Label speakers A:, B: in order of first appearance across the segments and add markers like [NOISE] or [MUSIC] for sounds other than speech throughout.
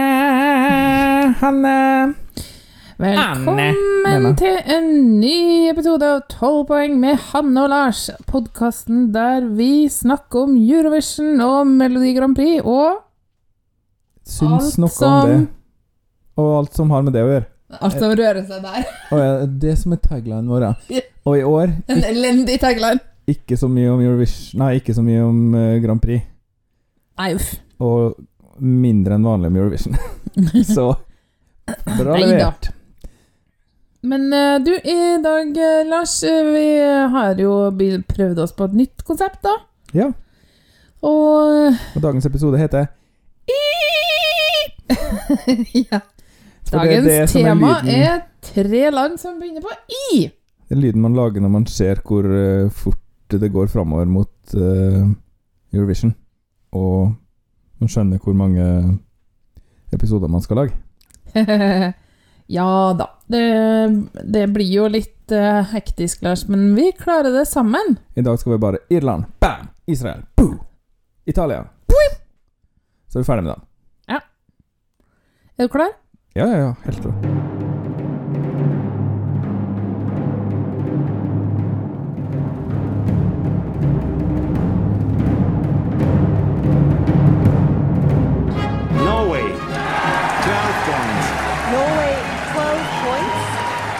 A: Buonasera, Hanne. Anne,
B: Velkommen
A: mener.
B: til en ny episode av 12 poeng med Hanne og Lars. Podkasten der vi snakker om Eurovision og Melodi Grand Prix og
A: Syns
B: Alt
A: noe
B: som-
A: om det. Og alt som har med det å gjøre.
B: Alt som rører seg der. [LAUGHS]
A: Og ja, det som er taglinen vår. ja. Og i år
B: En elendig tagline.
A: ikke så mye om Eurovision Nei, ikke så mye om eh, Grand Prix.
B: Nei, uff.
A: Og mindre enn vanlig om Eurovision. [LAUGHS] så bra
B: Nei da.
A: levert.
B: Men eh, du, i dag, eh, Lars, eh, vi har jo be- prøvd oss på et nytt konsept, da.
A: Ja.
B: Og eh,
A: Og dagens episode heter
B: [LAUGHS] ja.
A: For det er
B: Dagens
A: det som er
B: tema
A: lyden.
B: er tre land som begynner på I.
A: Det er lyden man lager når man ser hvor eh, fort det går framover mot eh, Eurovision. Og man skjønner hvor mange episoder man skal lage.
B: [LAUGHS] ja da. Det, det blir jo litt eh, hektisk, Lars, men vi klarer det sammen.
A: I dag skal vi bare Irland, bam! Israel, boo! Italia, boop! Så er vi ferdig med den.
B: Er du klar?
A: Ja, ja, ja. Helt rå.
C: Norway, 12 points.
D: Norway 12 points,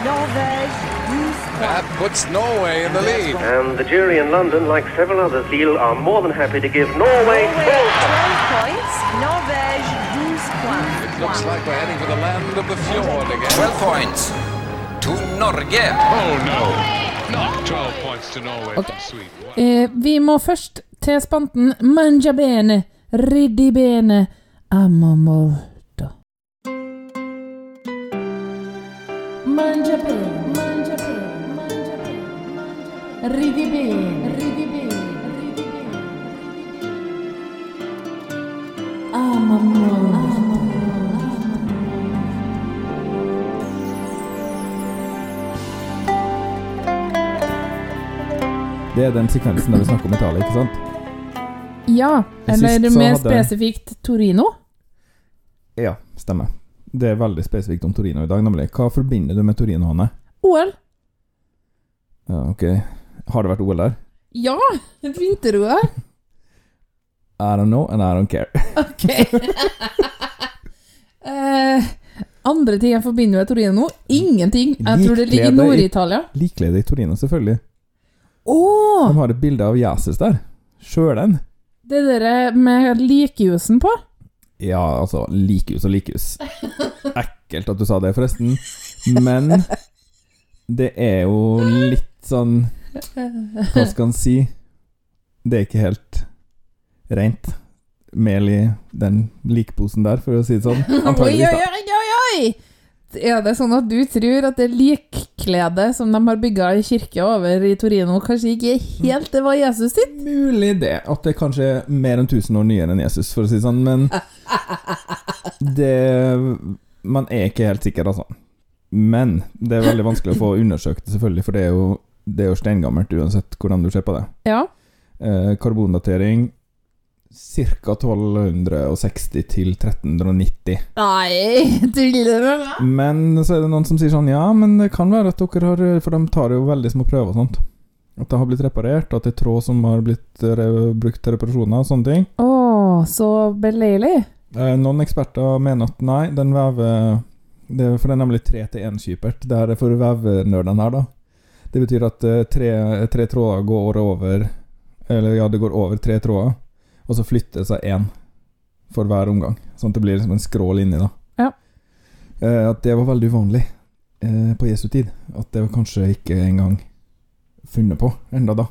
D: Norvège 12 points.
E: That puts Norway in the lead.
F: And the jury in London, like several others, Lille are more than happy to give Norway
D: Norway
F: 12
D: 12 points, Norvège 12 points.
E: It looks like we're heading for the land of the fjord again.
G: 12 points to Norge.
C: Oh no, not 12 points to Norway from Sweden. Wow.
B: Eh, vi må først til spanten mangia bene, ridi bene, amo molto. Mangia bene, mangia bene, mangia bene, mangia bene. Ridi bene, ridi bene, ridi bene, ridi bene. Amo molto.
A: Det er den sekvensen der vi snakker om Italia, ikke sant?
B: Ja,
A: Sist
B: eller
A: så
B: mer
A: hadde-
B: spesifikt Torino.
A: Ja. Stemmer. Det er veldig spesifikt om Torino i dag, nemlig. Hva forbinder du med Torino, Hanne?
B: OL.
A: Ja, ok. Har det vært OL der?
B: Ja, [LAUGHS] et vinter-OL.
A: I don't know, and I don't care. [LAUGHS]
B: [LAUGHS] Eh, andre ting jeg forbinder med Torino? Ingenting. Jeg tror det ligger i
A: Likklede i-
B: Nord-Italia.
A: Liklede i Torino, selvfølgelig.
B: Åh,
A: De har et bilde av Jesus der. Sjølen.
B: det der med likjusen på?
A: Ja, altså Likhus og
B: [LAUGHS]
A: likhus. Ekkelt at du sa det, forresten. Men det er jo litt sånn Hva skal en si? Det er ikke helt rent mel i den likposen der, for å si det sånn.
B: [LAUGHS] Oi, oi,
A: Antageligvis, da.
B: oi, oi, oi! Er det sånn at du tror at det likkledet som de har bygga i kirka over i Torino, kanskje ikke helt det var Jesus sitt?
A: Mulig det. At det kanskje er mer enn 1000 år nyere enn Jesus, for å si det sånn. Men det Man er ikke helt sikker, altså. Men det er veldig vanskelig å få undersøkt det, selvfølgelig, for det er jo, det er jo steingammelt uansett hvordan du ser på det.
B: Ja.
A: Eh, karbondatering ca. 1260 til 1390.
B: Nei, [LAUGHS] tuller du med meg?
A: Men så er det noen som sier sånn Ja, men det kan være at dere har For de tar jo veldig små prøver og sånt. At det har blitt reparert, at det er tråd som har blitt re brukt til reparasjoner og sånne ting.
B: Å, så beleilig.
A: Eh, noen eksperter mener at nei, den vever det, er- For det er nemlig tre til én kypert. Det her er for vevernerdene her, da. Det betyr at eh, tre, tre tråder går over Eller ja, det går over tre tråder, og så flytter det seg én for hver omgang. Sånn at det blir liksom en skrå linje, da.
B: Ja.
A: Eh, at det var veldig uvanlig eh, på Jesu tid. At det var kanskje ikke engang funnet på enda da.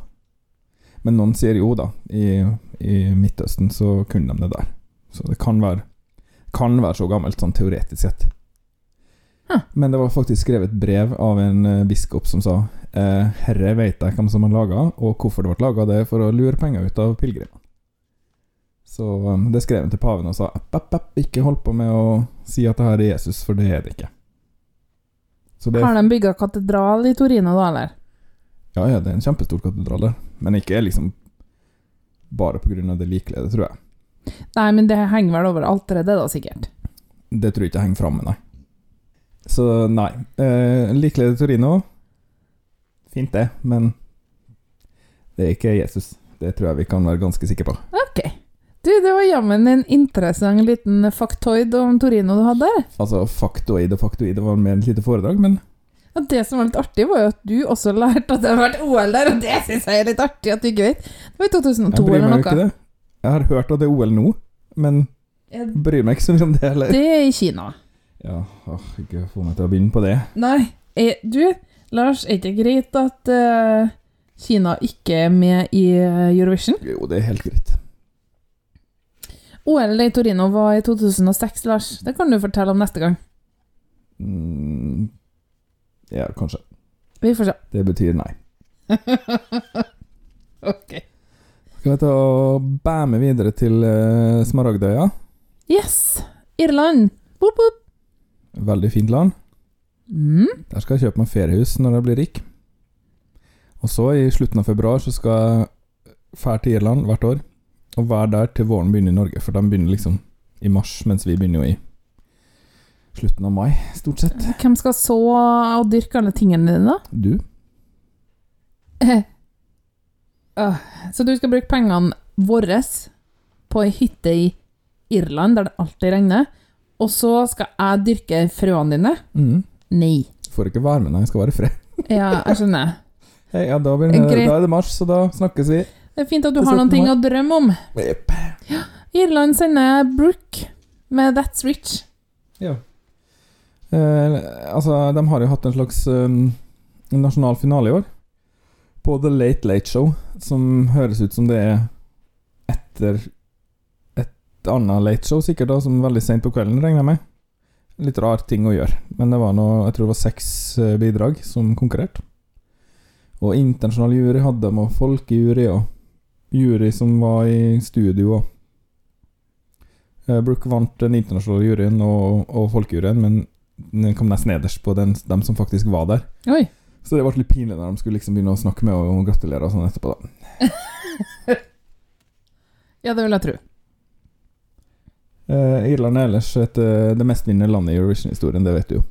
A: Men noen sier jo, da. I, i Midtøsten så kunne de det der. Så det kan være, kan være så gammelt, sånn teoretisk sett.
B: Huh.
A: Men det var faktisk skrevet brev av en eh, biskop som sa eh, Herre veit jeg hvem som har laga, og hvorfor det ble laga, det er for å lure penger ut av pilegrimene. Så eh, det skrev han til paven og sa app, app, app, ikke hold på med å si at det her er Jesus, for det er det ikke. Så det,
B: Har de bygga katedral i Torino, da, eller?
A: ja, ja, det er en kjempestor katedral der, men ikke liksom bare pga. det likeledet, tror jeg.
B: Nei, men det henger vel over alteret, det da, sikkert.
A: Det tror jeg ikke henger framme, nei. Så nei. Eh, Likeleder Torino. Fint, det, men det er ikke Jesus. Det tror jeg vi kan være ganske
B: [LAUGHS]
A: sikre på.
B: Ok. Du, det var jammen en interessant liten faktoid om Torino du hadde.
A: Altså faktoid og faktoid, det var mer et lite foredrag, men
B: Og det som var litt artig, var jo at du også lærte at det har vært OL der, og det syns jeg er litt artig at du ikke vet. Det var i 2002
A: jeg bryr
B: eller
A: meg jo
B: noe.
A: ikke det. Jeg har hørt at det er OL nå, men
B: Ja,
A: bryr meg ikke så mye om det heller.
B: Det er i Kina.
A: Ja, åh, ikke få meg til å begynne på det.
B: Nei, eh, du, Lars, er det ikke greit at eh, Kina ikke er med i eh, Eurovision?
A: Jo, det er helt greit.
B: OL i Torino var i 2006, Lars. Det kan du fortelle om neste gang.
A: Mm, ja, kanskje.
B: Vi får se.
A: Det betyr nei.
B: [LAUGHS] Ok.
A: Skal vi ta og bæme videre til eh, Smaragdøya?
B: Yes! Irland! Boop, boop.
A: Veldig fint land.
B: Mm.
A: Der skal jeg kjøpe meg feriehus når jeg blir rik. Og så, i slutten av februar, så skal jeg fære til Irland hvert år. Og være der til våren begynner i Norge, for de begynner liksom i mars, mens vi begynner jo i slutten av mai, stort sett.
B: Hvem skal så og dyrke alle tingene dine, da?
A: Du?
B: [LAUGHS] Ah, Så du skal bruke pengene våre på ei hytte i Irland, der det alltid regner, og så skal jeg dyrke frøene dine?
A: Mm.
B: Nei.
A: Får ikke være med, nei. Jeg skal være i fred.
B: [LAUGHS] Ja, jeg skjønner.
A: Hei, ja, da, blir det,
B: Greit.
A: da er det mars, så da snakkes vi.
B: Det er fint at du
A: Det
B: har
A: setter
B: noen ting
A: meg.
B: å drømme om. Irland sender Brooke med That's Rich.
A: Ja. Eh, altså, de har jo hatt en slags um, nasjonal finale i år. På The Late Late Show, som høres ut som det er etter et annet late show, sikkert, da, som er veldig seint på kvelden, regner jeg med. Litt rar ting å gjøre, men det var noe, jeg tror det var seks eh, bidrag som konkurrerte. Og internasjonal jury hadde de, og folkejury, og jury som var i studio, og Eh, Brooke vant den internasjonale juryen og, og folkejuryen, men den kom nesten nederst på den, dem som faktisk var der.
B: Oi.
A: Så det ble litt pinlig når de skulle liksom begynne å snakke med og, og gratulere og sånn etterpå. da.
B: Ja, det vil jeg tro.
A: Eh, Irland er ellers et, eh, det mestvinnende landet i Eurovision-historien, det vet du jo.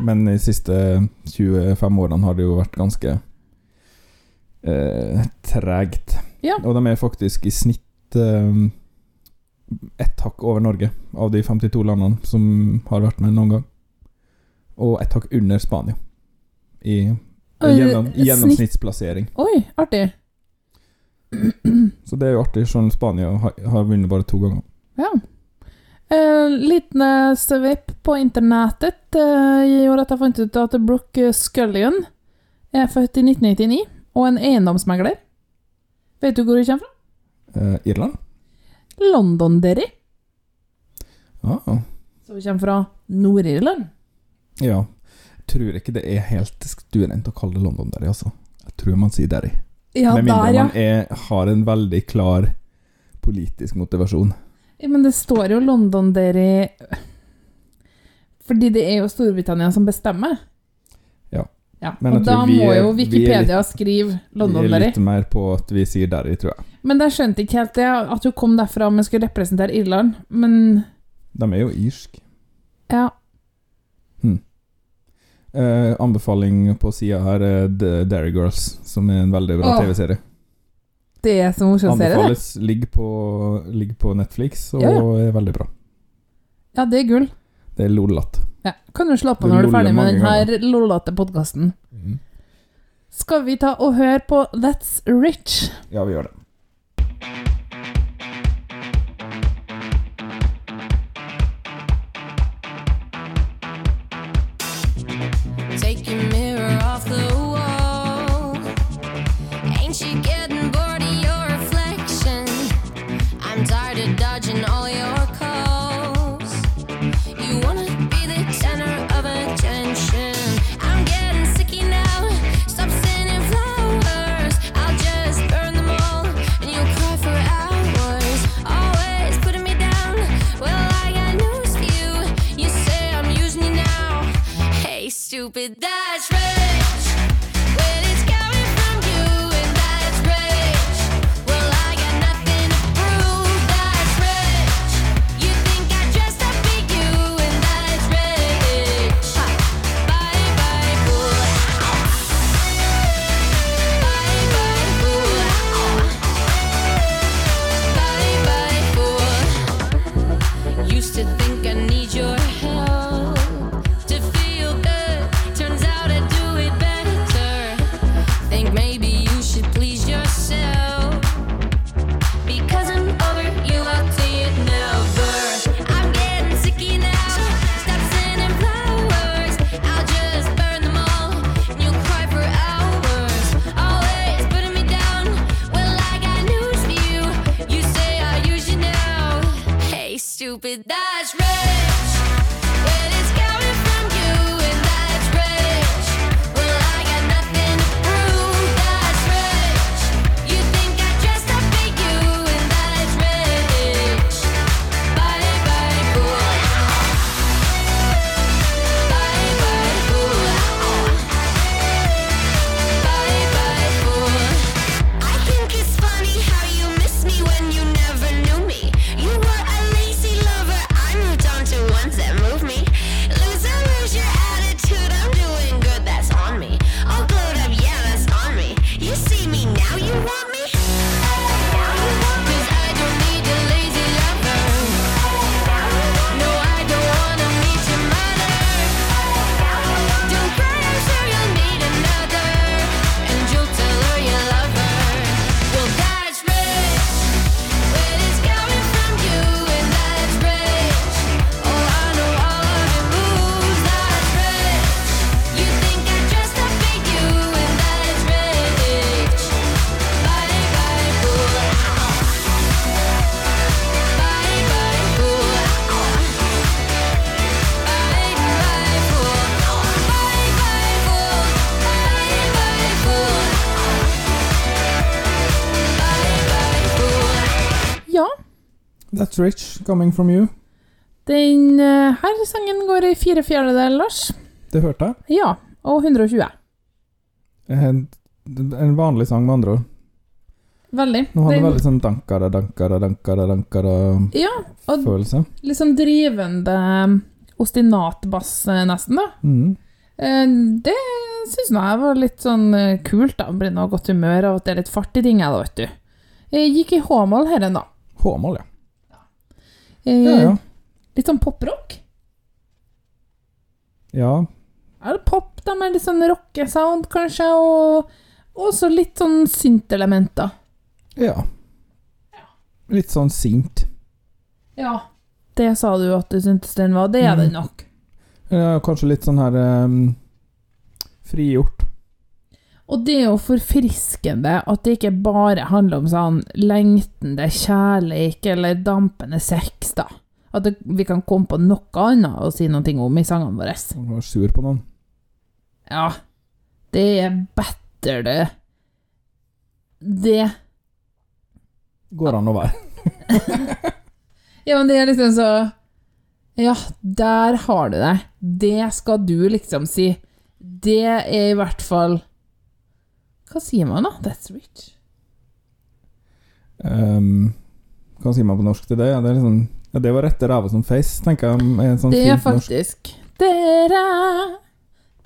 A: Men de siste 25 årene har det jo vært ganske eh, tregt.
B: Ja.
A: Og de er faktisk i snitt eh, ett hakk over Norge av de 52 landene som har vært med noen gang. Og ett hakk under Spania i
B: Oi,
A: gjennom,
B: snitt-
A: gjennomsnittsplassering.
B: Oi, artig.
A: Så det er jo artig, selv om Spania har, har vunnet bare to ganger.
B: Ja. Eh, liten eh, sveip på internettet eh, gjorde at jeg fant ut at Brooke Scullion er født i 1999 og en eiendomsmegler. Vet du hvor hun kommer fra?
A: Eh, Irland?
B: Londonderry.
A: Ah.
B: Så hun kommer fra Nord-Irland.
A: Ja. Tror ikke det er helt stuerent å kalle det London Derry, altså. Jeg tror man sier Derry.
B: Ja,
A: Med mindre
B: der, ja.
A: man er, har en veldig klar politisk motivasjon.
B: Ja, Men det står jo Londonderry Fordi det er jo Storbritannia som bestemmer.
A: Ja.
B: Ja,
A: Men jeg
B: og da
A: tror vi
B: må
A: er- vi
B: jo
A: er
B: Wikipedia skrive
A: Vi er
B: Londonderry.
A: litt mer på at vi sier Derry, tror jeg.
B: Men jeg skjønte ikke helt det, at hun kom derfra men skulle representere Irland. Men
A: De er jo irsk.
B: ja,
A: Eh, anbefaling på sida her er The Derry Girls, som er en veldig bra
B: Åh,
A: TV-serie.
B: det er så morsom serie, det.
A: Anbefales. Ligger på, ligger på Netflix og
B: Ja,
A: er veldig bra.
B: Ja, det er gull.
A: Det er lollete.
B: Ja, kan du slappe
A: Du
B: av når du er
A: loller
B: ferdig med
A: mange Mhm.
B: denne lollete podkasten. Skal vi ta og høre på That's Rich?
A: Ja, vi gjør det.
H: Take your mirror off the wall. Ain't she getting bored of your reflection? I'm tired of dodging all your calls. You wanna be the center of attention. I'm getting sicky now. Stop sending flowers. I'll just burn them all, and you'll cry for hours. Always putting me down. Well, I got news for you. You say I'm using you now. Hey, stupid, that's rich. When it's coming from you, and that's rich. Well, I got nothing to prove. That's rich. stupid. That's rich. Well, it's coming from you, and that's rich. Well, I got nothing to prove. That's rich. You think I dressed up for you, and that's rich. Bye bye cool. Bye bye cool. Bye bye cool. I think it's funny how you miss me when you never knew me. You were a lazy lover, I moved on to ones that move me. Loser, lose your attitude, I'm doing good, that's on me. All glowed up, yeah, that's on me. You see me now, you want me? Now you want me. 'Cause I don't need a lazy lover. No, I don't wanna meet your mother. Don't cry, I'm sure you'll meet another, and you'll tell her you love her. Well, that's rich. Well, it's coming from you, and that's rich. Oh, I know all of your moves. That's rich. You think I dressed up for you, and that's rich. Bye bye cool. Bye bye cool. Bye bye fool. Bye bye fool. Bye bye fool. Bye bye fool.
B: Ja,
A: That's rich coming from you.
B: den eh, her sangen går i fire fjerdedeler, Lars.
A: Det hørte jeg.
B: Ja, og 120.
A: En, en vanlig sang, med andre ord.
B: Veldig.
A: Nå har det
B: Den-
A: veldig sånn dankara, dankara, dankara, dankara-følelse.
B: Ja, og liksom drivende eh, ostinatbass, eh, nesten, da.
A: Mm.
B: Eh, Det syns nå jeg var litt sånn eh, kult, da. Blir nå godt humør av at det er litt fart i ting, jeg, da, vet du. Jeg gikk i H-mål her en, da.
A: H-mål, ja.
B: Eh,
A: Ja, ja.
B: Litt sånn poprock.
A: ja.
B: Er det pop, da, med litt sånn rockesound, kanskje, og også litt sånn syntelementer.
A: Ja. Litt sånn sint.
B: Ja. Det sa du at du syntes den var. Det er den nok.
A: Ja, kanskje litt sånn her ehm, frigjort.
B: Og det er jo forfriskende at det ikke bare handler om sånn lengtende kjærleik eller dampende sex, da. At det, vi kan komme på noe annet å si noe om i sangene våre.
A: Han var sur på noen.
B: Ja, det er better det. Det
A: Går an å være.
B: Ja, men det er liksom så Ja, der har du det. Det skal du liksom si. Det er i hvert fall Hva sier man, da? That's rich.
A: Ehm, hva sier man på norsk til det? Ja, det, er litt sånn, ja, det var rette ræva som face, tenker jeg. Er en sånn
B: Det er
A: fint norsk.
B: faktisk Dere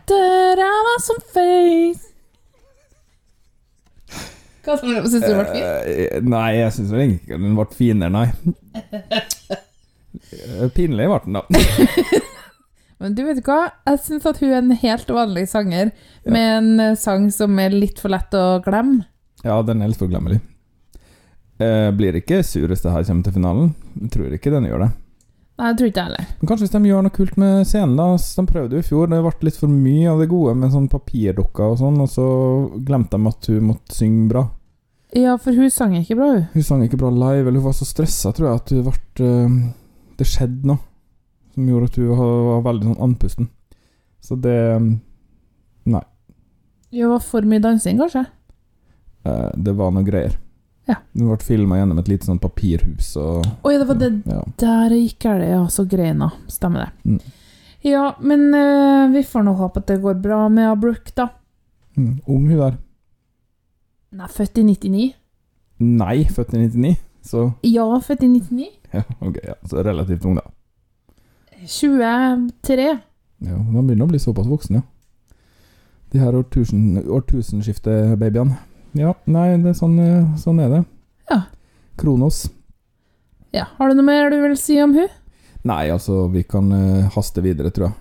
B: Dere var som face Hva syns du var fint?
A: Eh, nei, jeg syns vel ikke den ble finere, nei. Eh, Pinlig ble den, da.
B: Men du vet hva? Jeg syns at hun er en helt vanlig sanger med en eh, sang som er litt for lett å glemme.
A: Ja, den er litt forglemmelig. Eh, blir ikke sur hvis det her kommer til finalen. Jeg tror ikke den gjør det.
B: Nei, jeg tror ikke jeg heller.
A: Men kanskje hvis de gjør noe kult med scenen, da. Så De prøvde jo i fjor, det ble litt for mye av det gode med sånn papirdukker og sånn, og så glemte de at hun måtte synge bra.
B: Ja, for hun sang ikke bra, hun.
A: Hun sang ikke bra live, eller hun var så stressa, tror jeg, at hun ble eh, Det skjedde noe som gjorde at hun var var veldig sånn andpusten. Så det mm,
B: Det var for mye dansing, kanskje?
A: eh, Det var noe greier.
B: Ja.
A: Hun ble filma gjennom et lite sånn papirhus og
B: Å ja, det var det
A: ja.
B: der det gikk galt, ja. Så greina. Stemmer det.
A: Mm.
B: Ja, men eh, vi får nå håpe at det går bra med Brooke, da.
A: mm, Ung hun der.
B: Hun er født i 99.
A: Nei, født i 99, så
B: Ja, født i 99.
A: ja, ok, ja, så relativt ung, da.
B: 23.
A: Ja, Man begynner å bli såpass voksen, ja. De her årtusen, årtusenskiftebabyene. Ja, nei, det er sånn, eh, sånn er det.
B: Ja.
A: Kronos.
B: Ja, Har du noe mer du vil si om hun?
A: Nei, altså, vi kan eh, haste videre, tror jeg.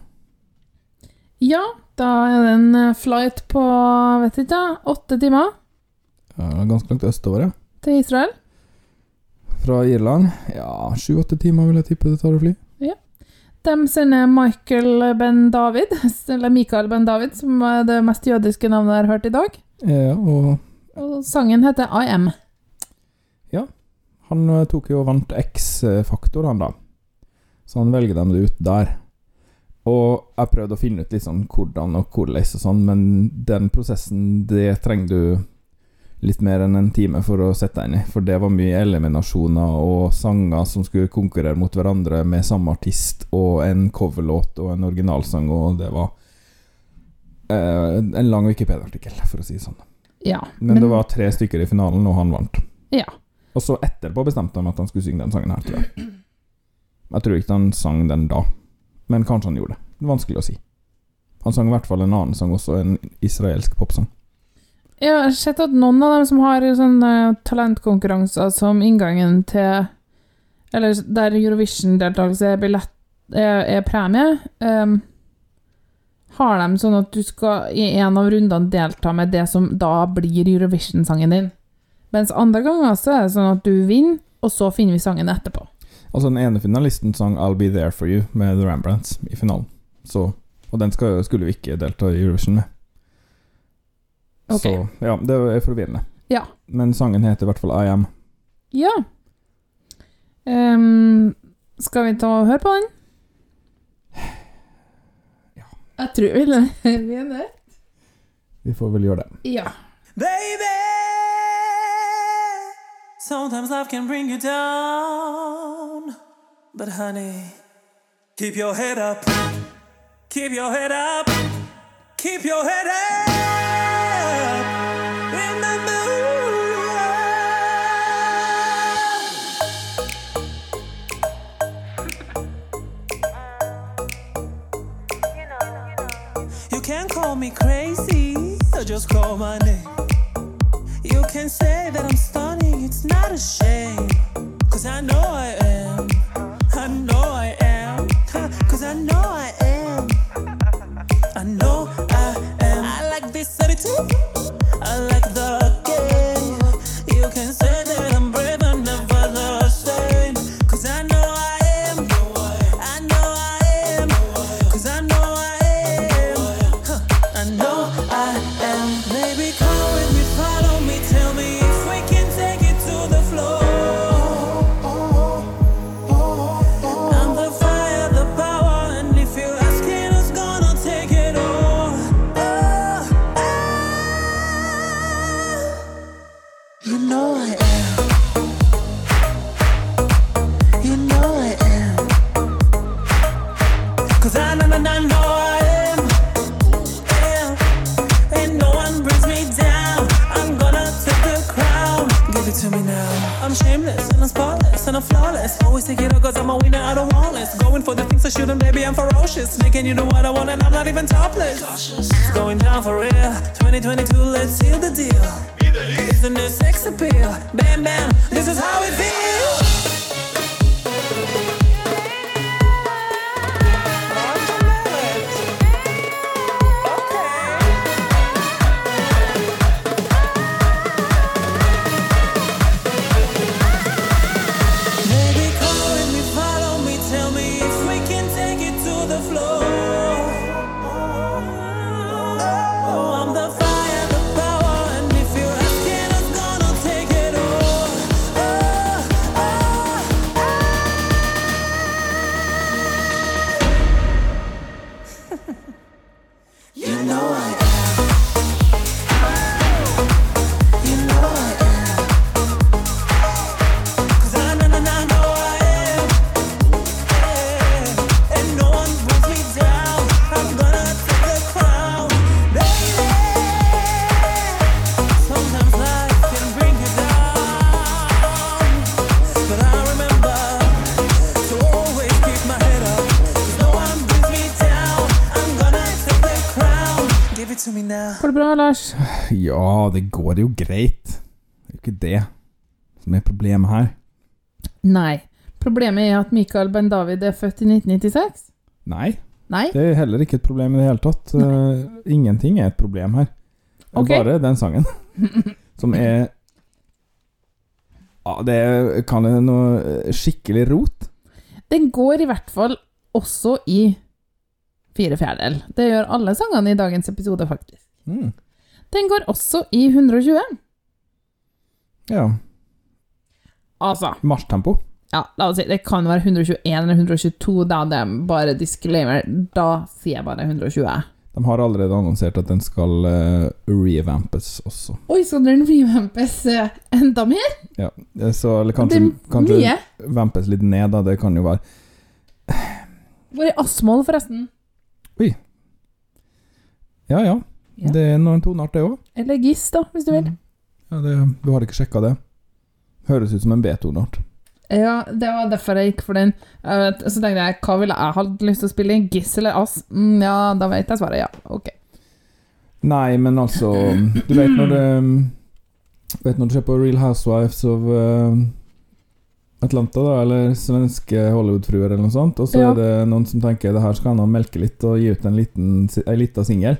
B: Ja, da er det en eh, flight på vet ikke, åtte timer
A: Ja, det er ganske langt østover, ja.
B: til Israel.
A: Fra Irland. Ja, sju-åtte timer vil jeg tippe det tar å fly.
B: De sender Michael Ben David, [LAUGHS] eller Michael Ben David, som er det mest jødiske navnet jeg har hørt i dag.
A: Ja, og
B: Og sangen heter I Am.
A: han eh, tok jo og vant X-faktor, han da. Så han velger dem ut der. Og jeg prøvde å finne ut litt sånn hvordan og hvordan og sånn, men den prosessen, det trenger du litt mer enn en time for å sette deg inn i, for det var mye eliminasjoner og sanger som skulle konkurrere mot hverandre med samme artist, og en coverlåt og en originalsang, og det var eh, en lang Wikipedia-artikkel, for å si det sånn.
B: Ja.
A: Men, det var tre stykker i finalen, og han vant.
B: Ja.
A: Og så etterpå bestemte han at han skulle synge den sangen her, tror jeg. Jeg tror ikke han sang den da, men kanskje han gjorde det. Det er Vanskelig å si. Han sang i hvert fall en annen sang også, en israelsk popsang.
B: Jeg har sett at noen av dem som har sånne talentkonkurranser som inngangen til Eller der Eurovision-deltakelse er, billett- er, er premie, ehm, har de sånn at du skal i en av rundene delta med det som da blir Eurovision-sangen din. Mens andre ganger så er det sånn at du vinner, og så finner vi sangen etterpå.
A: Altså Den ene finalisten sang 'I'll Be There For You' med The Rembrandts i finalen. Så, og den skal, skulle vi ikke delta i Eurovision med.
B: Ok.
A: Så ja, det er forvirrende.
B: Ja.
A: Men sangen heter i hvert fall 'I Am'.
B: Ja. Ehm, skal vi ta og høre på den?
A: Ja.
B: Jeg tror vi er det.
A: Vi får vel gjøre det.
B: Ja.
I: Baby, sometimes life can bring you down. But honey, keep your head up. Keep your head up. Keep your head up. Remember who you are. You can call me crazy, or just call my name. You can say that I'm stunning, it's not a shame. Cause I know I am. I know I am. Cause I know I am. I know I am. I like this attitude. I like the game. You can say that I'm brave and never the same. Cause I know I am. I know I am. Cause I know I am. Huh. I know I am. Baby, come with me, follow me, tell me if we can take it to the floor. I'm the fire, the power, and if you're asking who's gonna take it all, oh, oh, you know I am. You know I am. 'Cause I know, know, know I am. am. And no one brings me down. I'm gonna take the crown. Give it to me now. I'm shameless and I'm spotless and I'm flawless. Always take it up cause I'm a winner, I don't want less. Going for the things I shouldn't, baby, I'm ferocious. Making you do what I want and I'm not even topless. It's going down for real. 2022, let's seal the deal. It's the new sex appeal. Bam, bam, this is how it feels. Okay. Baby, come with me, follow me, tell me if we can take it to the floor. Oh, I'm the fire, the power, and if you're asking, I'm gonna take it all. Oh, oh, oh. You know I am. You know I am. Cause I know, know, know I am. Yeah. And no one brings me down. I'm gonna take the crown, baby. Sometimes life can bring you down, but I remember to always keep my head up. 'Cause no one brings me down. I'm gonna take the crown. Give it to me now.
B: Går det bra, Lars?
A: Ja, det går jo greit. Det er jo ikke det som er problemet her.
B: Nei. Problemet er at Mikael Ben-David er født i 1996.
A: Nei,
B: Nei?
A: det er heller ikke et problem i det hele tatt. Eh, ingenting er et problem her. Det er
B: Ok.
A: Bare den
B: [LAUGHS]
A: sangen. Som er Ja, det er kan det noe eh, skikkelig rot.
B: Den går i hvert fall også i fire fjerdedel. Det gjør alle sangene i dagens episode, faktisk.
A: Mm.
B: Den går også i 120.
A: Ja.
B: Altså
A: Marsjtempo.
B: Ja, la oss si det kan være 121 eller 122, da. Det er bare disclaimer. Da sier jeg bare 120.
A: De har allerede annonsert at den skal eh, revampes også.
B: Oi, skal den revampes eh, enda mer?
A: Ja. eh, Så eller kanskje,
B: Det er
A: kanskje
B: mye.
A: vampes litt ned, da. Det kan jo være
B: Hvor er Asmol, forresten?
A: Ja, ja.
B: Ja.
A: Det er noen toneart, det òg.
B: Eller Giss, da, hvis du vil.
A: Mm. Ja, det, du har ikke sjekka det? Høres ut som en B-toneart.
B: Ja, det var derfor jeg gikk for den. Eh, Så tenkte jeg, hva ville jeg hatt lyst til å spille i? Giss eller Ass? Mm, ja, da vet jeg svaret, ja. Ok.
A: Nei, men altså Du vet når det Vet når du ser på Real Housewives of eh, Atlanta, da, eller svenske Hollywood-fruer, eller noe sånt, og så
B: Ja.
A: er det noen som tenker det her skal han ha melke litt og gi ut en liten, si- ei lita singel.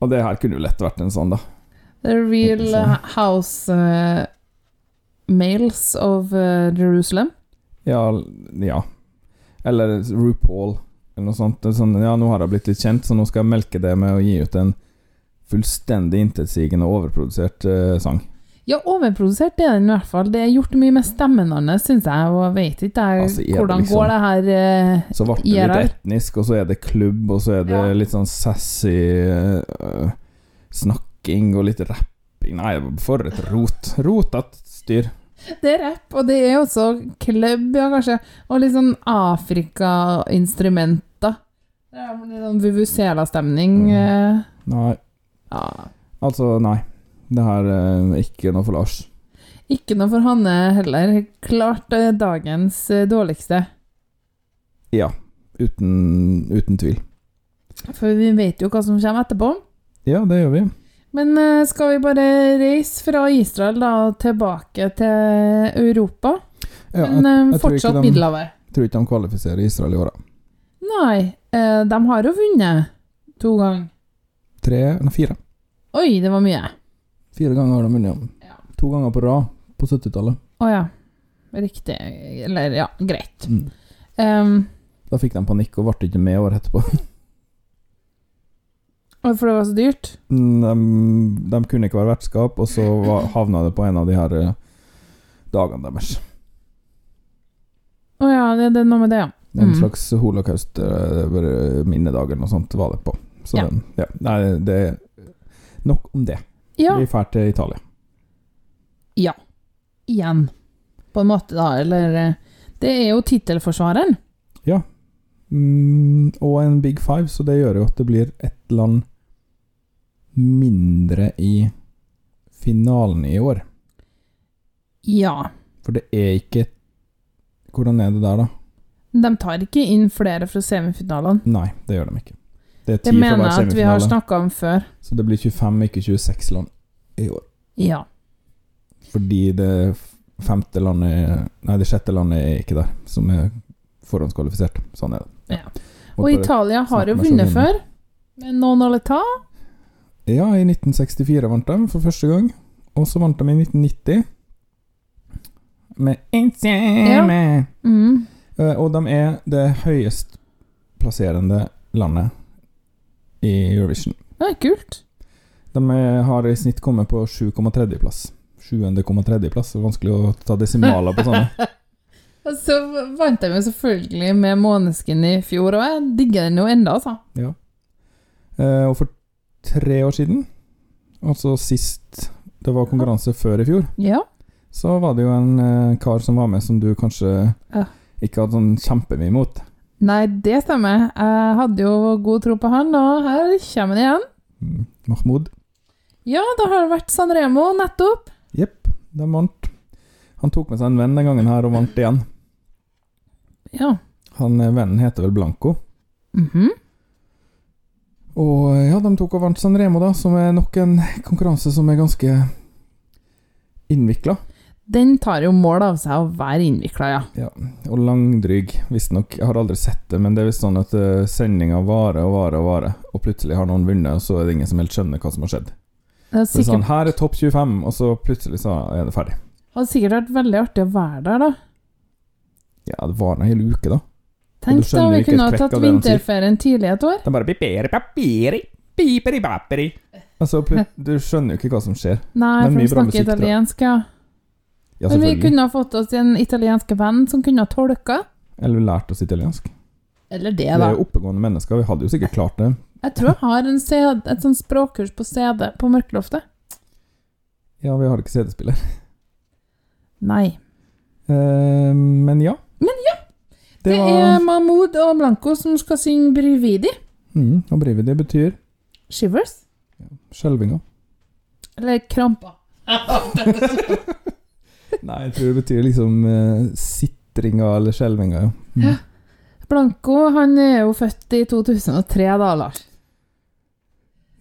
A: Og det her kunne jo lett vært en sånn, da.
B: The Real
A: Interessant.
B: House eh, Males of eh, Jerusalem.
A: Ja, l- ja. Eller RuPaul, eller noe sånt. Det er Sånn, ja, nå har jeg blitt litt kjent, så nå skal jeg melke det med å gi ut en fullstendig intetsigende og overprodusert eh, sang.
B: Ja, overprodusert er den i hvert fall. Det er gjort mye med stemmen hans, syns jeg, og jeg vet ikke jeg,
A: Altså, er det
B: hvordan
A: liksom-
B: går det her eh,
A: Så ble det litt
B: IRL.
A: etnisk, og så er det klubb, og så er det
B: Ja.
A: litt sånn sassy øh, snakking og litt rapping Nei, for et rot. Rotete styr.
B: Det er rapp, og det er jo også klubb, ja, kanskje, og litt sånn Afrika-instrumenter. Det er litt sånn vuvuzela-stemning.
A: Mm.
B: eh,
A: Nei.
B: Ja.
A: Altså, nei. Det her øh, er ikke noe for Lars.
B: Ikke noe for Hanne heller. Klart eh, dagens eh, dårligste.
A: Ja. Uten, uten tvil.
B: For vi vet jo hva som kommer etterpå.
A: Ja, det gjør vi.
B: Men eh, skal vi bare reise fra Israel da og tilbake til Europa?
A: Ja,
B: Men
A: jeg jeg
B: eh,
A: tror ikke
B: fortsatt
A: de-
B: Middelhavet.
A: tror ikke de kvalifiserer Israel i år, da.
B: Nei, eh, de har jo vunnet to ganger.
A: Tre Nei, fire.
B: Oi, det var mye.
A: Fire ganger har de vunnet.
B: Ja.
A: To ganger på rad på 70-tallet.
B: Å ja. Riktig. Eller ja, greit.
A: Mm.
B: Ehm,
A: Da fikk de panikk og ble ikke med året etterpå.
B: og for det var så dyrt.
A: Mm, De, de kunne ikke være vertskap, og så var, havna det på en av de her eh, dagene deres.
B: Å ja, det, det er noe med det, ja.
A: En
B: Mm.
A: slags holocaust-minnedag eller noe sånt var det på. Så
B: Ja.
A: den- ja. Nei, det Nok om det.
B: Ja,
A: Vi drar til Italia.
B: igjen. På en måte, da. Eller eh, Det er jo tittelforsvareren.
A: Mm, og en big five, så det gjør jo at det blir ett land mindre i finalen i år.
B: Ja.
A: For det er ikke Hvordan er det der, da?
B: De tar ikke inn flere fra semifinalene.
A: Nei, det gjør de ikke. Det er ti
B: Det
A: for
B: mener
A: hver
B: jeg at vi har
A: semifinale.
B: snakka om før.
A: Så det blir 25, ikke 26 land i år.
B: Ja.
A: Fordi det f- femte landet Nei, det sjette landet er ikke der, som er forhåndskvalifisert. Sånn er det.
B: Ja.
A: Måtte
B: Og
A: bare-
B: Italia har jo
A: snakke meg så
B: vunnet
A: inn.
B: før. Men noen alle ta?
A: Ja, i 1964 vant de for første gang. Og så vant de i 1990. Med Insieme.
B: Mm.
A: Eh, Og de er det høyest plasserende landet i Eurovision.
B: Det er kult.
A: De er- har i snitt kommet på 7,3.-plass. 7.,3.-plass. Vanskelig å ta desimaler på sånne.
B: Og så vant de jo selvfølgelig med Måneskin i fjor, og jeg digger den jo enda, altså.
A: Eh, Og for tre år siden, altså sist det var konkurranse før i fjor,
B: Ja.
A: så var det jo en eh, kar som var med som du kanskje
B: Ja.
A: ikke hadde sånn kjempemye imot.
B: Nei, det stemmer. Jeg hadde jo god tro på han, og her kommer han igjen.
A: Mm, Mahmoud.
B: Ja, da har det vært Sanremo nettopp.
A: Jepp, de vant. Han tok med seg en venn den gangen her og vant igjen.
B: Ja.
A: Han eh, vennen heter vel Blanco.
B: Mhm.
A: Og eh, ja, de tok og vant San Remo, da, som er nok en konkurranse som er ganske innvikla.
B: Den tar jo mål av seg å være innvikla, ja.
A: Og langdryg, visstnok. Jeg har aldri sett det, men det er visst sånn at uh, sendinga varer og varer og varer, og plutselig har noen vunnet, og så er det ingen som helt skjønner hva som har skjedd. Så
B: Det er
A: det er
B: sikkert
A: sånn, her er topp 25, og så plutselig så er det ferdig.
B: Det hadde sikkert vært veldig artig å være der, da.
A: Ja, det varer en hel uke, da. du
B: Tenk da,
A: skjønner
B: vi
A: ikke
B: kunne ha
A: et kvekk
B: tatt
A: av det de sier.
B: vinterferien tidlig et år.
A: Det er bare piperi, papiri, piperi, papiri.
B: [LAUGHS]
A: Altså, plut- du skjønner jo ikke hva som skjer.
B: Nei,
A: Men
B: for
A: mye
B: de
A: bra
B: snakker
A: musikk, tror jeg.
B: italiensk, ja.
A: Ja,
B: Men vi
A: selvfølgelig.
B: kunne ha fått oss en italiensk venn som kunne ha tolka.
A: Eller lært oss italiensk.
B: Eller det,
A: Vi
B: da.
A: er jo oppegående mennesker, vi hadde jo sikkert klart det.
B: Jeg tror jeg har en CD, et sånt språkkurs på CD på Mørkeloftet.
A: Ja, vi har ikke CD-spiller.
B: Nei.
A: Eh, men ja.
B: Men
A: ja!
B: Det, er Mahmoud og Blanco som skal synge Brividi.
A: mm, Og brevet det betyr
B: Shivers.
A: skjelvinga.
B: Eller [LAUGHS] krampa.
A: Nei, jeg tror det betyr liksom eh, sitringa eller skjelvinga, ja.
B: Blanco han er jo født i 2003, da, Lars.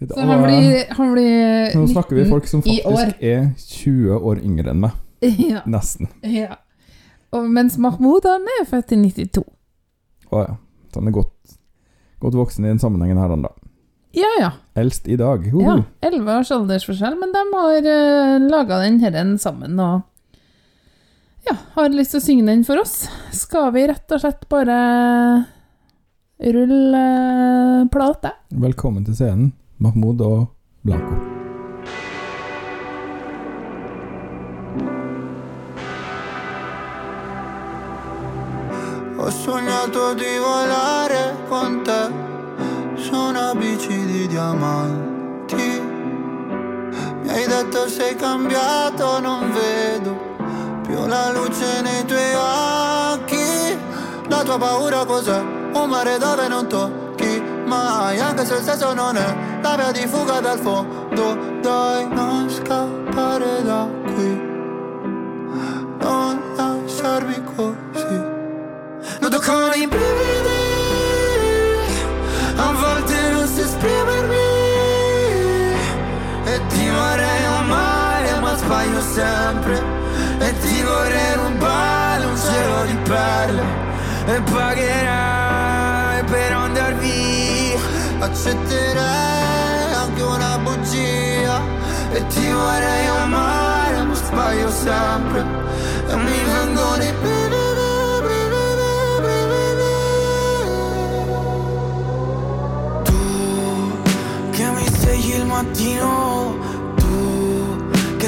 B: Så han
A: Og,
B: blir, han blir
A: Ah, Nå snakker vi
B: 19
A: folk som
B: i år.
A: faktisk er 20 år yngre enn meg.
B: [LAUGHS] Ja,
A: Nesten.
B: ja. Og mens Mahmoud han er født i 92.
A: Å ja. Så han er godt, godt voksen i den sammenhengen her, han da.
B: Ja, ja.
A: Eldst i dag. Hoho.
B: ja. 11 års aldersforskjell, men de har uh, laga den herren sammen og ja, har lyst til å synge den for oss. Skal vi rett og slett bare rulle eh, plate?
A: Velkommen til scenen, Mahmoud og Blanco.
J: Ho sognato di volare con te su una bici di diamanti. Mi hai detto sei cambiato, non vedo più la luce nei tuoi occhi. La tua paura cos'è? Un mare dove non tocchi mai, anche se il senso non è la via di fuga dal fondo. Dai, non scappare da qui, non lasciarmi così. Non toccano i brividi A volte non so esprimermi E ti vorrei amare ma sbaglio sempre E ti vorrei rubare un cielo di perle E pagherai per andar via Accetterei anche una bugia E ti vorrei amare ma sbaglio sempre E mi vengono i brividi, brividi, brividi
I: Tu che mi svegli il mattino, tu che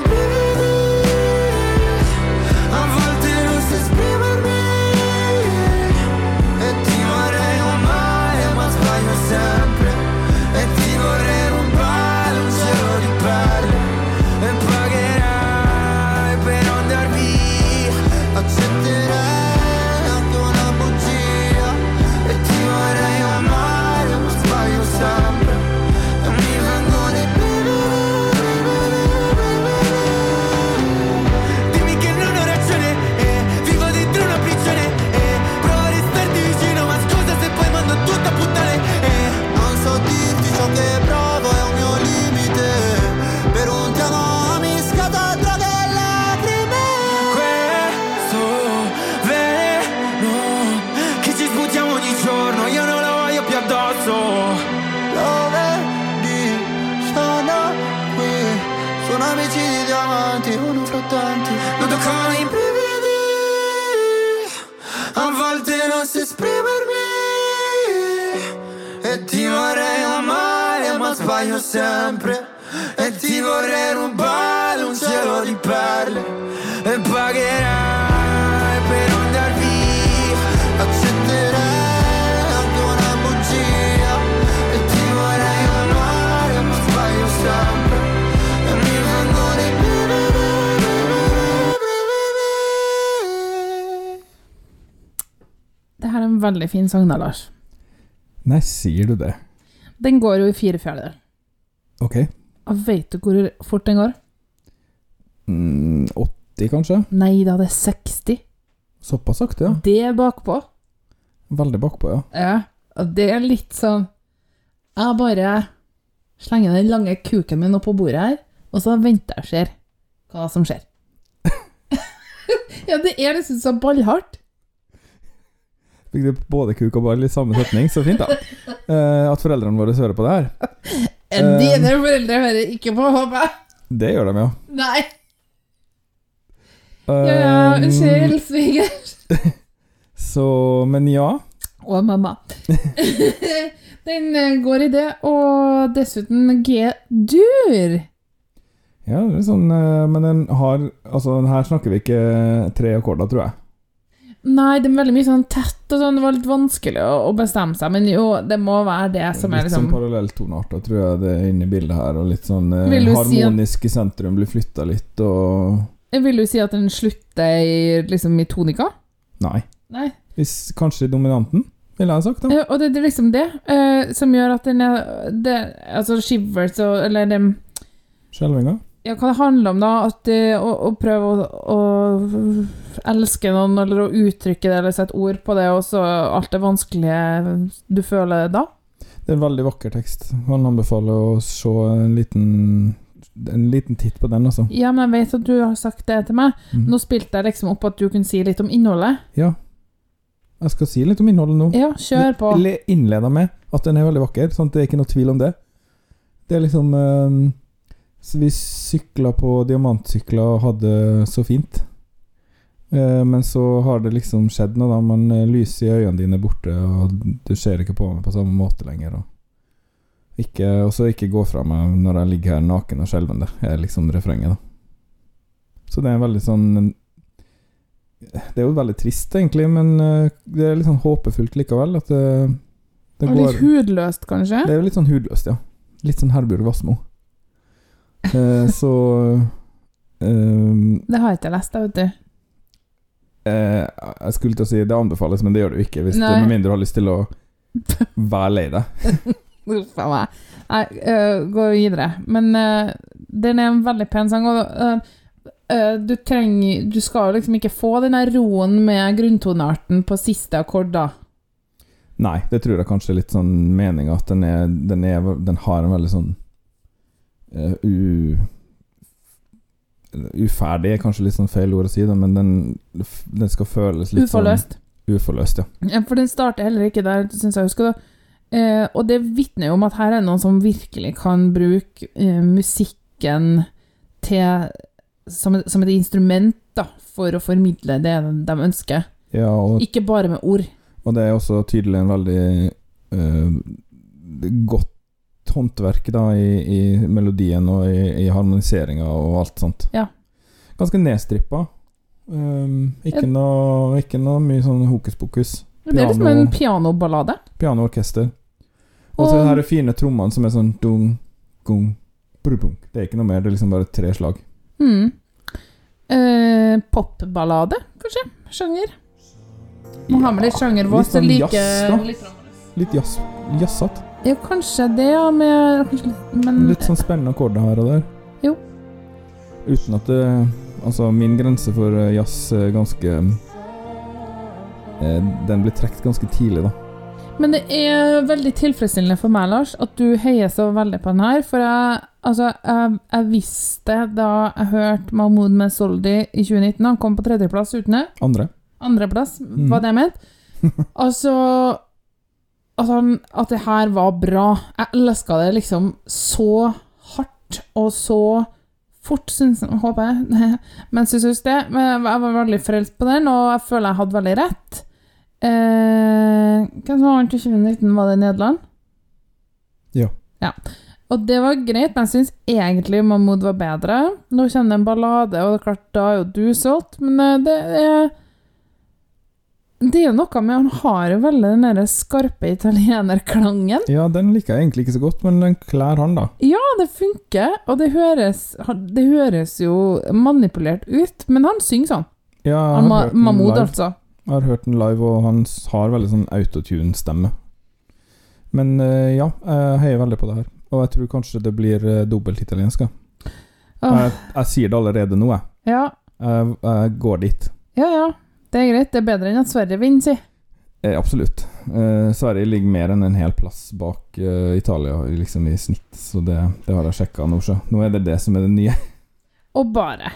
J: brividi A volte non so esprimermi E ti vorrei amare ma sbaglio sempre E ti vorrei rubare un cielo di perle E pagherai per andar via Accetterai anche una bugia E ti vorrei amare ma sbaglio sempre E mi vengono i
I: Dimmi che non ho ragione, eh, vivo dentro una prigione, eh, provo a restarti vicino, ma scusa se poi mando tutto a puttane, eh.
J: Non so dirti ciò che provo è un mio limite Per un ti amo mi scatta droghe e lacrime
I: Questo veleno che ci sputiamo ogni giorno, io non lo voglio più addosso.
J: Lo vedi, sono qui Sono amici di diamanti, uno fra tanti Non toccano i brividi A volte non so esprimermi E ti vorrei amare ma sbaglio sempre E ti vorrei rubare un cielo di perle
I: e pagherai per andar via.
J: Accetterai anche una bugia E ti vorrei amare ma sbaglio sempre E mi vengono i brividi.
B: Det her er en veldig fin sang, da, Lars.
A: Nei, sier du det?
B: Den går jo i fire fjerdedeler.
A: Ok.
B: Og Vet du hvor fort den går?
A: Mm, 80, kanskje?
B: Nei da, det er 60.
A: Såpass sakte, ja.
B: Det er bakpå.
A: Veldig bakpå, ja.
B: Ja, og det er litt sånn Jeg bare slenger den lange kuken min opp på bordet her, og så venter jeg og ser hva som skjer. [LAUGHS] ja, det er liksom så ballhardt.
A: Fikk du både kuk og ball i samme setning? Så
B: [LAUGHS]
A: fint, da. Eh, at foreldrene våre hører på det her. Eh,
B: Dine foreldre hører ikke på, håper jeg.
A: Det gjør de jo.
B: Nei.
A: Eh,
B: Ja, ja, unnskyld, sviger.
A: Så, men ja.
B: Og mamma. [LAUGHS] Den eh, går i det, og dessuten G-dur.
A: Ja, det er sånn, eh, men den har Altså, den her snakker vi ikke tre akkorder, tror jeg.
B: Nei, det er veldig mye sånn tett og sånn. Det var litt vanskelig å, å bestemme seg, men jo, det må være det som er
A: litt sånn
B: liksom
A: parallelltonarter, tror jeg det er inne i bildet her. Og litt sånn eh,
B: Vil du si at-
A: harmonisk i sentrum blir flytta litt, og
B: Jeg vil jo si at den slutter i, liksom, i tonika.
A: Nei.
B: Nei.
A: Hvis, kanskje dominanten, ville jeg sagt. da.
B: Eh, Og det, det er liksom det eh, som gjør at den er det, Altså shivers og Eller det,
A: Skjelvinga.
B: ja, hva det handler om, da? At eh, å, å prøve å, å elske noen, eller å uttrykke det, eller sette ord på det, og så alt det vanskelige du føler da.
A: Det er en veldig vakker tekst. Han anbefaler å se en liten En liten titt på den, altså.
B: Ja, men jeg vet at du har sagt det til meg.
A: Mhm.
B: Nå spilte jeg liksom opp at du kunne si litt om innholdet.
A: Jeg skal si litt om innholdet nå.
B: Ja, kjør på.
A: Le- innleda med at den er veldig vakker, sånn at det er ikke noe tvil om det. Det er liksom eh, så Vi sykla på diamantsykler og hadde så fint. Eh, men så har det liksom skjedd noe, da. Man eh, lyset i øynene dine er borte, og du ser ikke på meg på samme måte lenger. Og ikke, og så ikke gå fra meg når jeg ligger her naken og skjelvende, er liksom refrenget, da. Så det er en veldig sånn det er jo veldig trist, egentlig, men eh, det er litt sånn håpefullt likevel. At det, det
B: Og litt
A: går
B: hudløst, kanskje.
A: Det er jo litt sånn hudløst, ja. Litt sånn Herbjørg Wassmo. Eh, [LAUGHS] så eh,
B: Det har jeg ikke lest, da, vet du.
A: eh, Jeg skulle til å si det anbefales, men det gjør det jo ikke. Hvis
B: Nei.
A: Med mindre du har lyst til å være lei deg.
B: [LAUGHS] Uff a meg. Nei, øh, gå videre. Men øh, den er en veldig pen sang, og øh, øh, du trenger Du skal jo liksom ikke få den der roen med grunntonearten på siste akkord, da.
A: Nei, det tror jeg kanskje er litt sånn meninga at den, er, den, er, den har en veldig sånn eh, u... Uferdig er kanskje litt sånn feil ord å si, da, men den, den skal føles litt
B: Uforløst.
A: sånn Uforløst, ja.
B: Ja, for den starter heller ikke der, syns jeg. Husker du? Eh, og det vitner jo om at her er det noen som virkelig kan bruke eh, musikken til, som, et- som et instrument da, for å formidle det de ønsker.
A: Ja, og,
B: Ikke bare med ord.
A: og det er også tydelig en veldig eh, godt håndverk da, i, i melodien og i, i harmoniseringa og alt sånt.
B: Ja.
A: Ganske nedstrippa. Um, ikke,
B: Ja.
A: noe, ikke noe mye sånn hokus pokus.
B: Det er liksom
A: Piano-
B: en pianoballade.
A: Pianoorkester. Og så
B: Og-
A: de her fine trommene som er sånn dung, gung, brubung. Det er ikke noe mer, det er liksom bare tre slag.
B: Mm. Eh, Popballade, kanskje? Sjanger? Må ha med litt sjanger vår,
A: Litt
B: så
A: sånn
B: liker
A: jazz, da.
B: litt sånn-
A: Litt jazz, jazzete.
B: Ja, kanskje det, ja, med kanskje, litt- Men
A: Litt sånn spennende akkorder her og der.
B: Mm. Jo.
A: Uten at det Altså, min grense for eh, jazz er ganske eh, Den blir trukket ganske tidlig, da.
B: Men det er veldig tilfredsstillende for meg, Lars, at du heier så veldig på den her. For jeg, altså, jeg, jeg visste da jeg hørte Mahmoud med Soldi i 2019 Han kom på tredjeplass uten det.
A: Andre.
B: Andreplass, var det jeg mente. Altså at, han, at det her var bra. Jeg elska det liksom så hardt og så fort, syns jeg, håper jeg. [LAUGHS] Mens jeg syns det. Men jeg var veldig frelst på den, og jeg føler jeg hadde veldig rett. Eh, hvem som vant i 2019? Var det Nederland?
A: Ja.
B: Og det var greit, men jeg syns egentlig Mahmoud var bedre. Nå kommer det en ballade, og det er klart, da er jo du solgt, men eh, det er Det er jo noe med Han har jo veldig den derre skarpe italienerklangen.
A: Ja, den liker jeg egentlig ikke så godt, men den klær han, da.
B: Ja, det funker, og det høres, han- det høres jo manipulert ut, men han synger sånn.
A: Ja, jeg har
B: Han, Ma-
A: hørt den
B: Mahmoud,
A: live.
B: altså.
A: Jeg har hørt den live, og han s- har veldig sånn autotune-stemme. Men eh, ja, jeg heier veldig på det her. Og jeg tror kanskje det blir eh, dobbelt italiensk. da.
B: Åh,
A: Jeg, jeg sier det allerede nå, jeg.
B: ja,
A: Jeg, jeg går dit.
B: ja, ja. Det er greit. Det er bedre enn at Sverige vinner, si.
A: Eh, absolutt. Eh, Sverige ligger mer enn en hel plass bak eh, Italia liksom i snitt, så det, det har jeg sjekka nå. Så. Nå er det det som er det nye.
B: Og bare.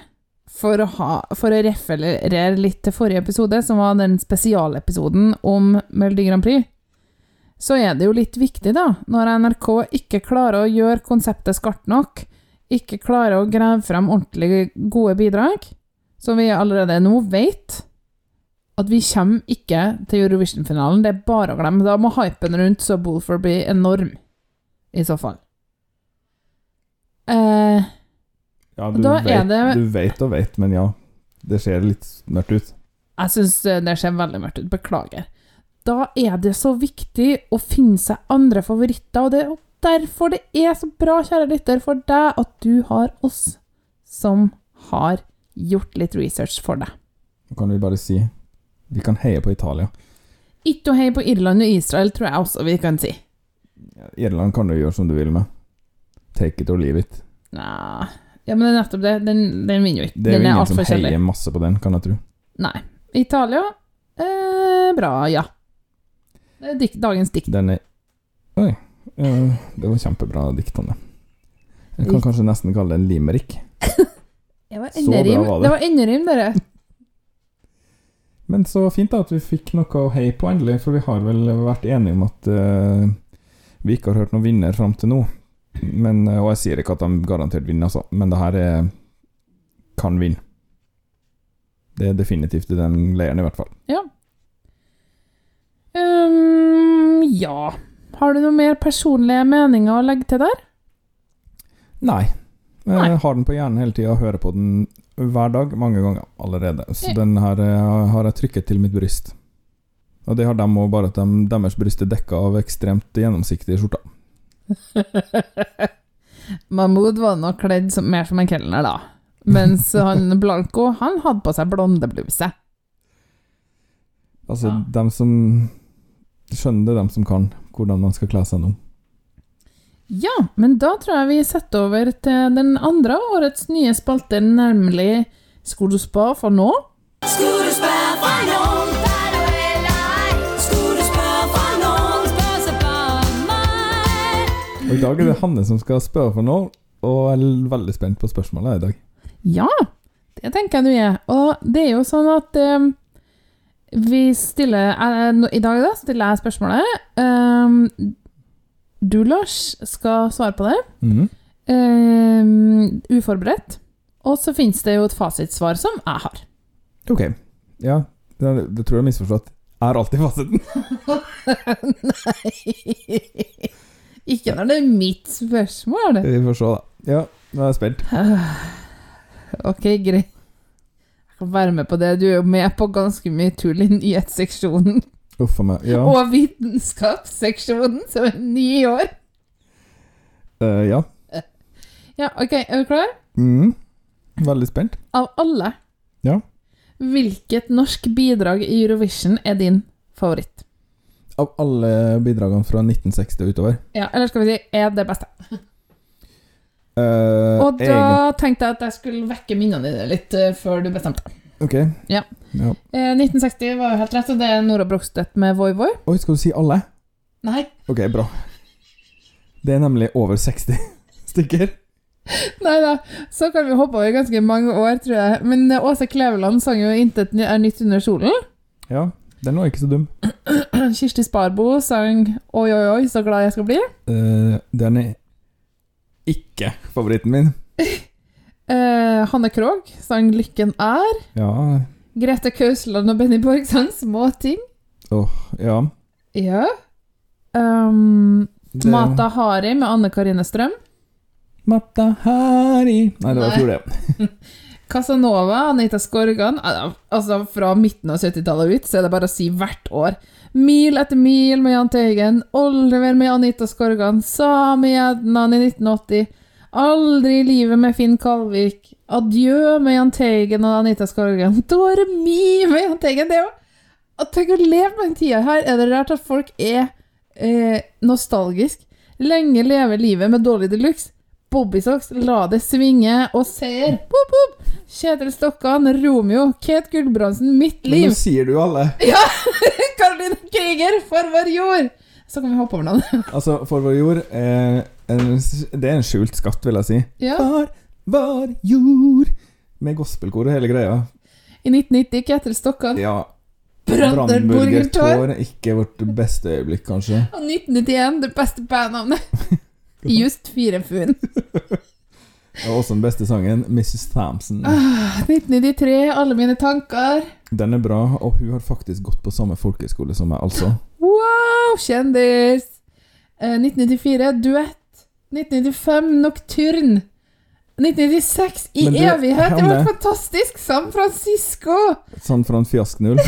B: for å, ha, for å referere litt til forrige episode, som var den spesialepisoden om Melodi Grand Prix, så er det jo litt viktig, da, når NRK ikke klarer å gjøre konseptet skarpt nok, ikke klarer å grave fram ordentlig gode bidrag, som vi allerede nå vet at vi kommer ikke til Eurovision-finalen. Det er bare å glemme. Da må hypen rundt så Bulfer bli enorm, i så fall. Eh,
A: [LAUGHS] Ja, du,
B: Da er
A: vet,
B: det-
A: du vet og vet, men ja. Det ser litt mørkt ut.
B: Jeg syns det ser veldig mørkt ut. Beklager. Da er det så viktig å finne seg andre favoritter, og det er jo derfor det er så bra, kjære lytter, for deg at du har oss som har gjort litt research for deg.
A: Nå kan vi bare si Vi kan heie på Italia.
B: Ikke å heie på Irland og Israel, tror jeg også vi kan si.
A: Irland kan du gjøre som du vil med. Take it or leave it.
B: Nja Ja, men det er nettopp det. Den, den vinner jo ikke.
A: Det er jo
B: den er
A: ingen som
B: altfor kjedelig.
A: heier masse på den, kan jeg tro.
B: Nei. Italia eh, Bra, ja. Det er dik dagens dikt. [LAUGHS]
A: Den er Oi. eh, Det var kjempebra dikt, Anne. Jeg kan
B: Litt.
A: kanskje nesten kalle det en limerick.
B: Det var
A: Så bra
B: enderim,
A: var det.
B: det var enderim dere.
A: Men så fint da at vi fikk noe å heie på endelig, for vi har vel vært enige om at eh, vi ikke har hørt noen vinner fram til nå. Men, eh, og jeg sier ikke at de garantert vinner, altså, men det her er, kan vinne. Det er definitivt i den leiren, i hvert fall.
B: Um, ja. Har du noen mer personlige meninger å legge til der?
A: Nei.
B: Nei.
A: Jeg har den på hjernen hele tida og hører på den hver dag, mange ganger allerede. Så
B: Ja.
A: den her eh, har jeg trykket til mitt bryst. Og det har dem òg, bare at de, deres bryst er dekka av ekstremt gjennomsiktige skjorter.
B: [LAUGHS] Mahmoud var nok kledd som, mer som en kelner, da. Mens han [LAUGHS] Blanco, han hadde på seg blondebluse.
A: Altså,
B: Ja.
A: dem som skjønner det, dem som kan, hvordan man skal kle seg nå.
B: Ja, men da tror jeg vi setter over til den andre av årets nye spalte, nemlig Skolespa for nå.
A: Og I dag er det Hanne som skal spørre for noe, og jeg er veldig spent på spørsmålet i dag.
B: Ja, det tenker jeg du er. Og det er jo sånn at eh, vi stiller eh, nå- I dag da stiller jeg spørsmålet. Eh, du, Lars, skal svare på det.
A: Mhm.
B: eh, uforberedt. Og så finnes det jo et fasitsvar som jeg har. [LAUGHS]
A: Ok. Ja, det, det tror jeg er misforstått. Er alltid fasiten.
B: Ikke når det er mitt spørsmål. [SIGHS]
A: Vi får se, da. Ja, nå er jeg spent.
B: Ok, greit. Jeg kan være med på det. Du er jo med på ganske mye tull i nyhetsseksjonen
A: Uff a meg. Ja.
B: og vitenskapsseksjonen, som er ni år.
A: eh, ja.
B: Ja, ok, er du klar?
A: Mhm. Veldig spent.
B: Av alle,
A: Ja.
B: hvilket norsk bidrag i Eurovision er din favoritt?
A: Av alle bidragene fra 1960 og utover.
B: Ja, eller skal vi si, er det beste?
A: Eh,
B: Og
A: egen-
B: da tenkte jeg at jeg skulle vekke minnene dine litt eh, før du bestemte. deg.
A: Ok.
B: Ja.
A: Ja.
B: Eh, 1960 var jo helt rett, og det er Nora Brogstøt med Voi Voi.
A: Oi, skal du si alle?
B: Nei, [LAUGHS]
A: Ok, bra. Det er nemlig over 60 [LAUGHS] stykker.
B: nei da. Så kan vi hoppe over ganske mange år, tror jeg. Men eh, Åse Kleveland sang jo 'Intet ny- er nytt under solen'. [CLEARS THROAT]
A: Ja, den var ikke så dum.
B: Kirsti Sparbo sang 'Oi, oi, oi, så glad jeg skal bli'.
A: Eh, den er ikke favoritten min.
B: Eh, Hanne Krogh sang 'Lykken er'.
A: Ja,
B: Grete Kausland og Benny Borg sang små ting.
A: ja.
B: Ja. Um,
A: Det-
B: Mata Hari med Anne Karine Strøm.
A: Mata Hari Nei, det var
B: Nei.
A: fjor, det.
B: Casanova, Anita Skorgan Al- Altså, fra midten av 70-tallet ut, så er det bare å si hvert år. Mil etter mil med Jahn Teigen, Oliver med Anita Skorgan, Samegjednan i 1980, Aldri i livet med Finn Kalvik, Adjø med Jahn Teigen og Anita [LAUGHS] Skorgan, Doremi med Jahn Teigen Det er jo at Tenk å leve på den tida her. Er det rart at folk er eh, nostalgisk? Lenge leve livet med dårlig deluxe. Bobbysocks, La det svinge og seier. Boop, boop. Kjetil Stokkan, Romeo, Kate Gulbrandsen, Mitt
A: Men nå
B: [LAUGHS] liv.
A: sier du alle.
B: Karoline Krüger, For vår jord. Så kan vi hoppe over noen. [LAUGHS]
A: Altså, For vår jord eh, en, Det er en skjult skatt, vil jeg si.
B: Ja.
A: For vår jord Med gospelkor og hele greia.
B: I 1990 Kjetil Stokkan.
A: Ja,
B: Brandenburger Tor.
A: Brandenburger-tår er ikke vårt beste øyeblikk, kanskje.
B: Og 1991, det beste
A: [LAUGHS]
B: bandnavnet. Just fire funn.
A: Og også den beste sangen, Mrs. Thamsen.
B: Ah. 1993, alle mine tanker.
A: Den er bra, og hun har faktisk gått på samme folkehøyskole som meg, altså.
B: Wow, kjendis! Eh, 1994, duett. 1995, Nocturne. 1996, i
A: Men du,
B: evighet! Det var
A: Hanne.
B: fantastisk! San Francisco! [LAUGHS]
A: Sånn fra en fiasknull.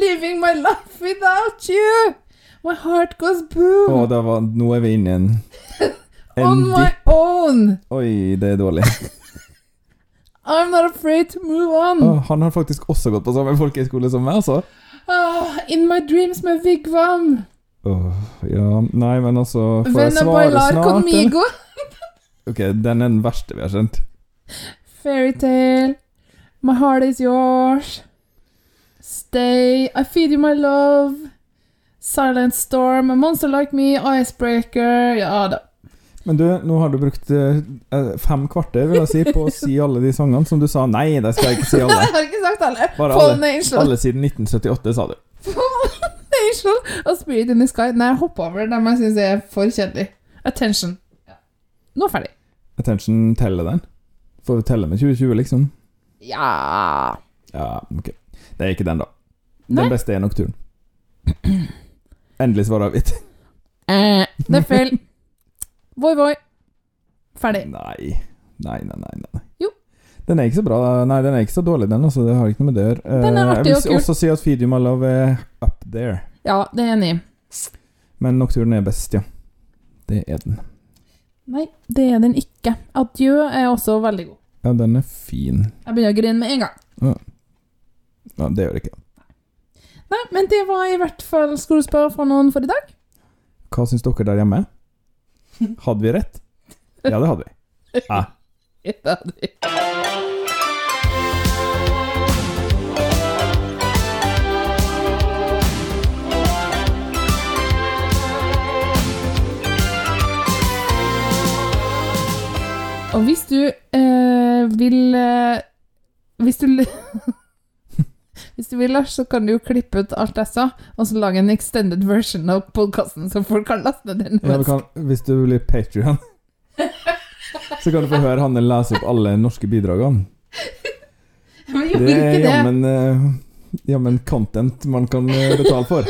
B: Living my life without you! My heart goes [LAUGHS] boom!
A: Og det var, nå er vi inne i
B: [LAUGHS]
A: en
B: On
A: en
B: my
A: dip-
B: own!
A: Oi, det er dårlig.
B: I'm not afraid to move on!
A: Å, han har faktisk også gått på samme folkehøyskole som meg, altså.
B: Ah, in my dreams med Vigvam!
A: Åh, ja, nei, men altså Får jeg
B: Venna
A: svare snart?
B: bailar
A: eller?
B: conmigo!
A: Ok, den er den verste vi har kjent.
B: Fairytale. My heart is yours. Stay. I feed you my love. Silent storm. A monster like me. Icebreaker. Ja da.
A: Men du, nå har du brukt eh, fem kvarter vil jeg si, på å si alle de sangene som du sa nei, det skal jeg ikke si alle.
B: [LAUGHS] Jeg har ikke sagt alle.
A: Bare
B: Fallen
A: alle.
B: Angel. [LAUGHS]
A: Alle siden 1978, sa du.
B: Fallen Angel og Spirit in the Sky. Nei, jeg hoppa over dem jeg syns er for kjedelig. Attention. Nå er jeg ferdig. [CLEARS THROAT]
A: Attention teller den. Får vi telle med 2020, liksom?
B: Ja
A: Ja, ok. Det er ikke den, da.
B: Nei.
A: Den beste er Nocturne. Endelig svarer vi.
B: eh, Det er feil. Voi, voi. Ferdig.
A: [LAUGHS] Nei. Nei, nei, nei. nei.
B: Jo.
A: Den er ikke så bra. Nei, den er ikke så dårlig, den. Altså, det har ikke noe med det å gjøre. Eh,
B: Den er artig
A: Jeg
B: og
A: vil
B: kul.
A: også si at Feed You My Love er up there.
B: Ja, det er jeg enig i.
A: Men Nocturne er best, ja. Det er den.
B: Nei, det er den ikke. Adjø er også veldig god.
A: Ja, den er fin.
B: Jeg begynner å grine med en gang.
A: Ja, det gjør det ikke.
B: Nei, men det var i hvert fall skolespill fra noen for i dag.
A: Hva syns dere der hjemme? Hadde vi rett? Ja, det hadde vi.
B: Og hvis du eh, vil eh, Hvis du [LAUGHS] Hvis du vil, Lars, så kan du jo klippe ut alt jeg sa, og så lage en extended version av podkasten, så folk kan laste ned den.
A: Ja, vi kan, hvis du blir Patreon så kan du få høre Hanne lese opp alle norske bidragene.
B: [LAUGHS] Men gjør
A: Det
B: ikke
A: er
B: det.
A: jammen eh, Jammen content man kan eh, betale for.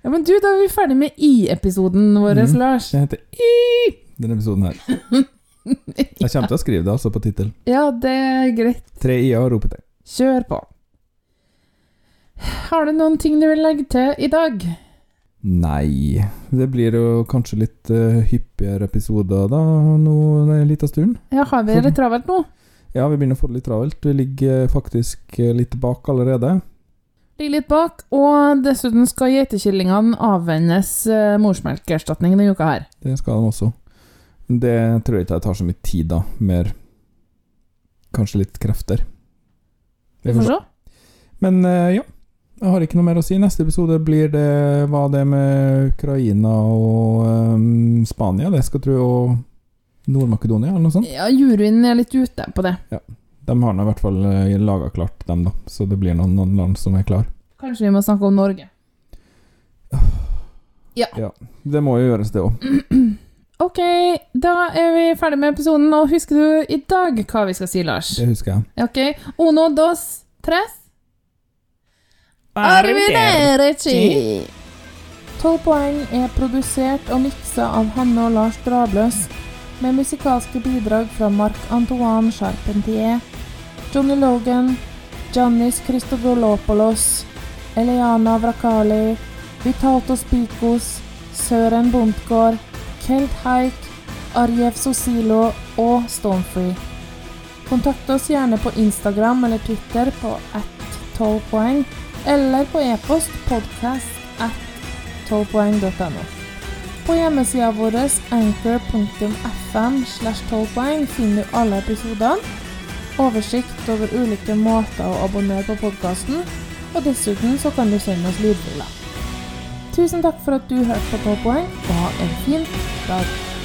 B: Ja, men du, da er vi ferdig med I-episoden vår,
A: Mhm.
B: Lars.
A: Det heter I denne episoden her. Jeg kommer til å skrive det altså på tittel.
B: Ja, det er greit.
A: Tre i-er og ropete.
B: Kjør på. Har du noen ting du vil legge til i dag?
A: Nei Det blir jo kanskje litt eh, hyppigere episoder da nå en liten stund.
B: Ja, har vi
A: For-
B: det travelt nå?
A: Ja, vi begynner å få det litt travelt. Vi ligger eh, faktisk eh, litt bak allerede.
B: Ligger litt bak, og dessuten skal geitekillingene avvennes eh, morsmelkerstatning denne uka her.
A: Det skal de også. Men Det tror jeg ikke jeg tar så mye tid, da. Mer kanskje litt krefter.
B: Vi får se.
A: Men eh, ja, jeg har ikke noe mer å si. Neste episode blir det hva det med Ukraina og eh, Spania, det skal tro, og Nord-Makedonia eller noe sånt.
B: Ja, juryen er litt ute på det.
A: De har nå i hvert fall laga klart, dem, da. Så det blir noen, noen land som er klar.
B: Kanskje vi må snakke om Norge.
A: Det må jo gjøres, det òg.
B: Ok, da er vi ferdig med episoden, og husker du i dag hva vi skal si, Lars?
A: Det husker jeg.
B: Ok, uno, dos, tres. Arrivederci! Tolv poeng er produsert og miksa av Hanne og Lars Drabløs, med musikalske bidrag fra Marc-Antoine Charpentier, Johnny Logan, Giannis Christogolopoulos, Eliana Vrakali, Vitato Spikos, Søren Bondgaard, Kelt Haik, Arjev Sosilo og Stormfree. Kontakt oss gjerne på Instagram eller Twitter på at 12 poeng, eller på e-post podcast at 12poeng.no. På hjemmesida vår anchor.fm slash 12 poeng finner du alle episodene, oversikt over ulike måter å abonnere på podkasten, og dessuten så kan du sende oss lydbilder. Tusen takk for at du hørte på 12 poeng, og ha en fin dag.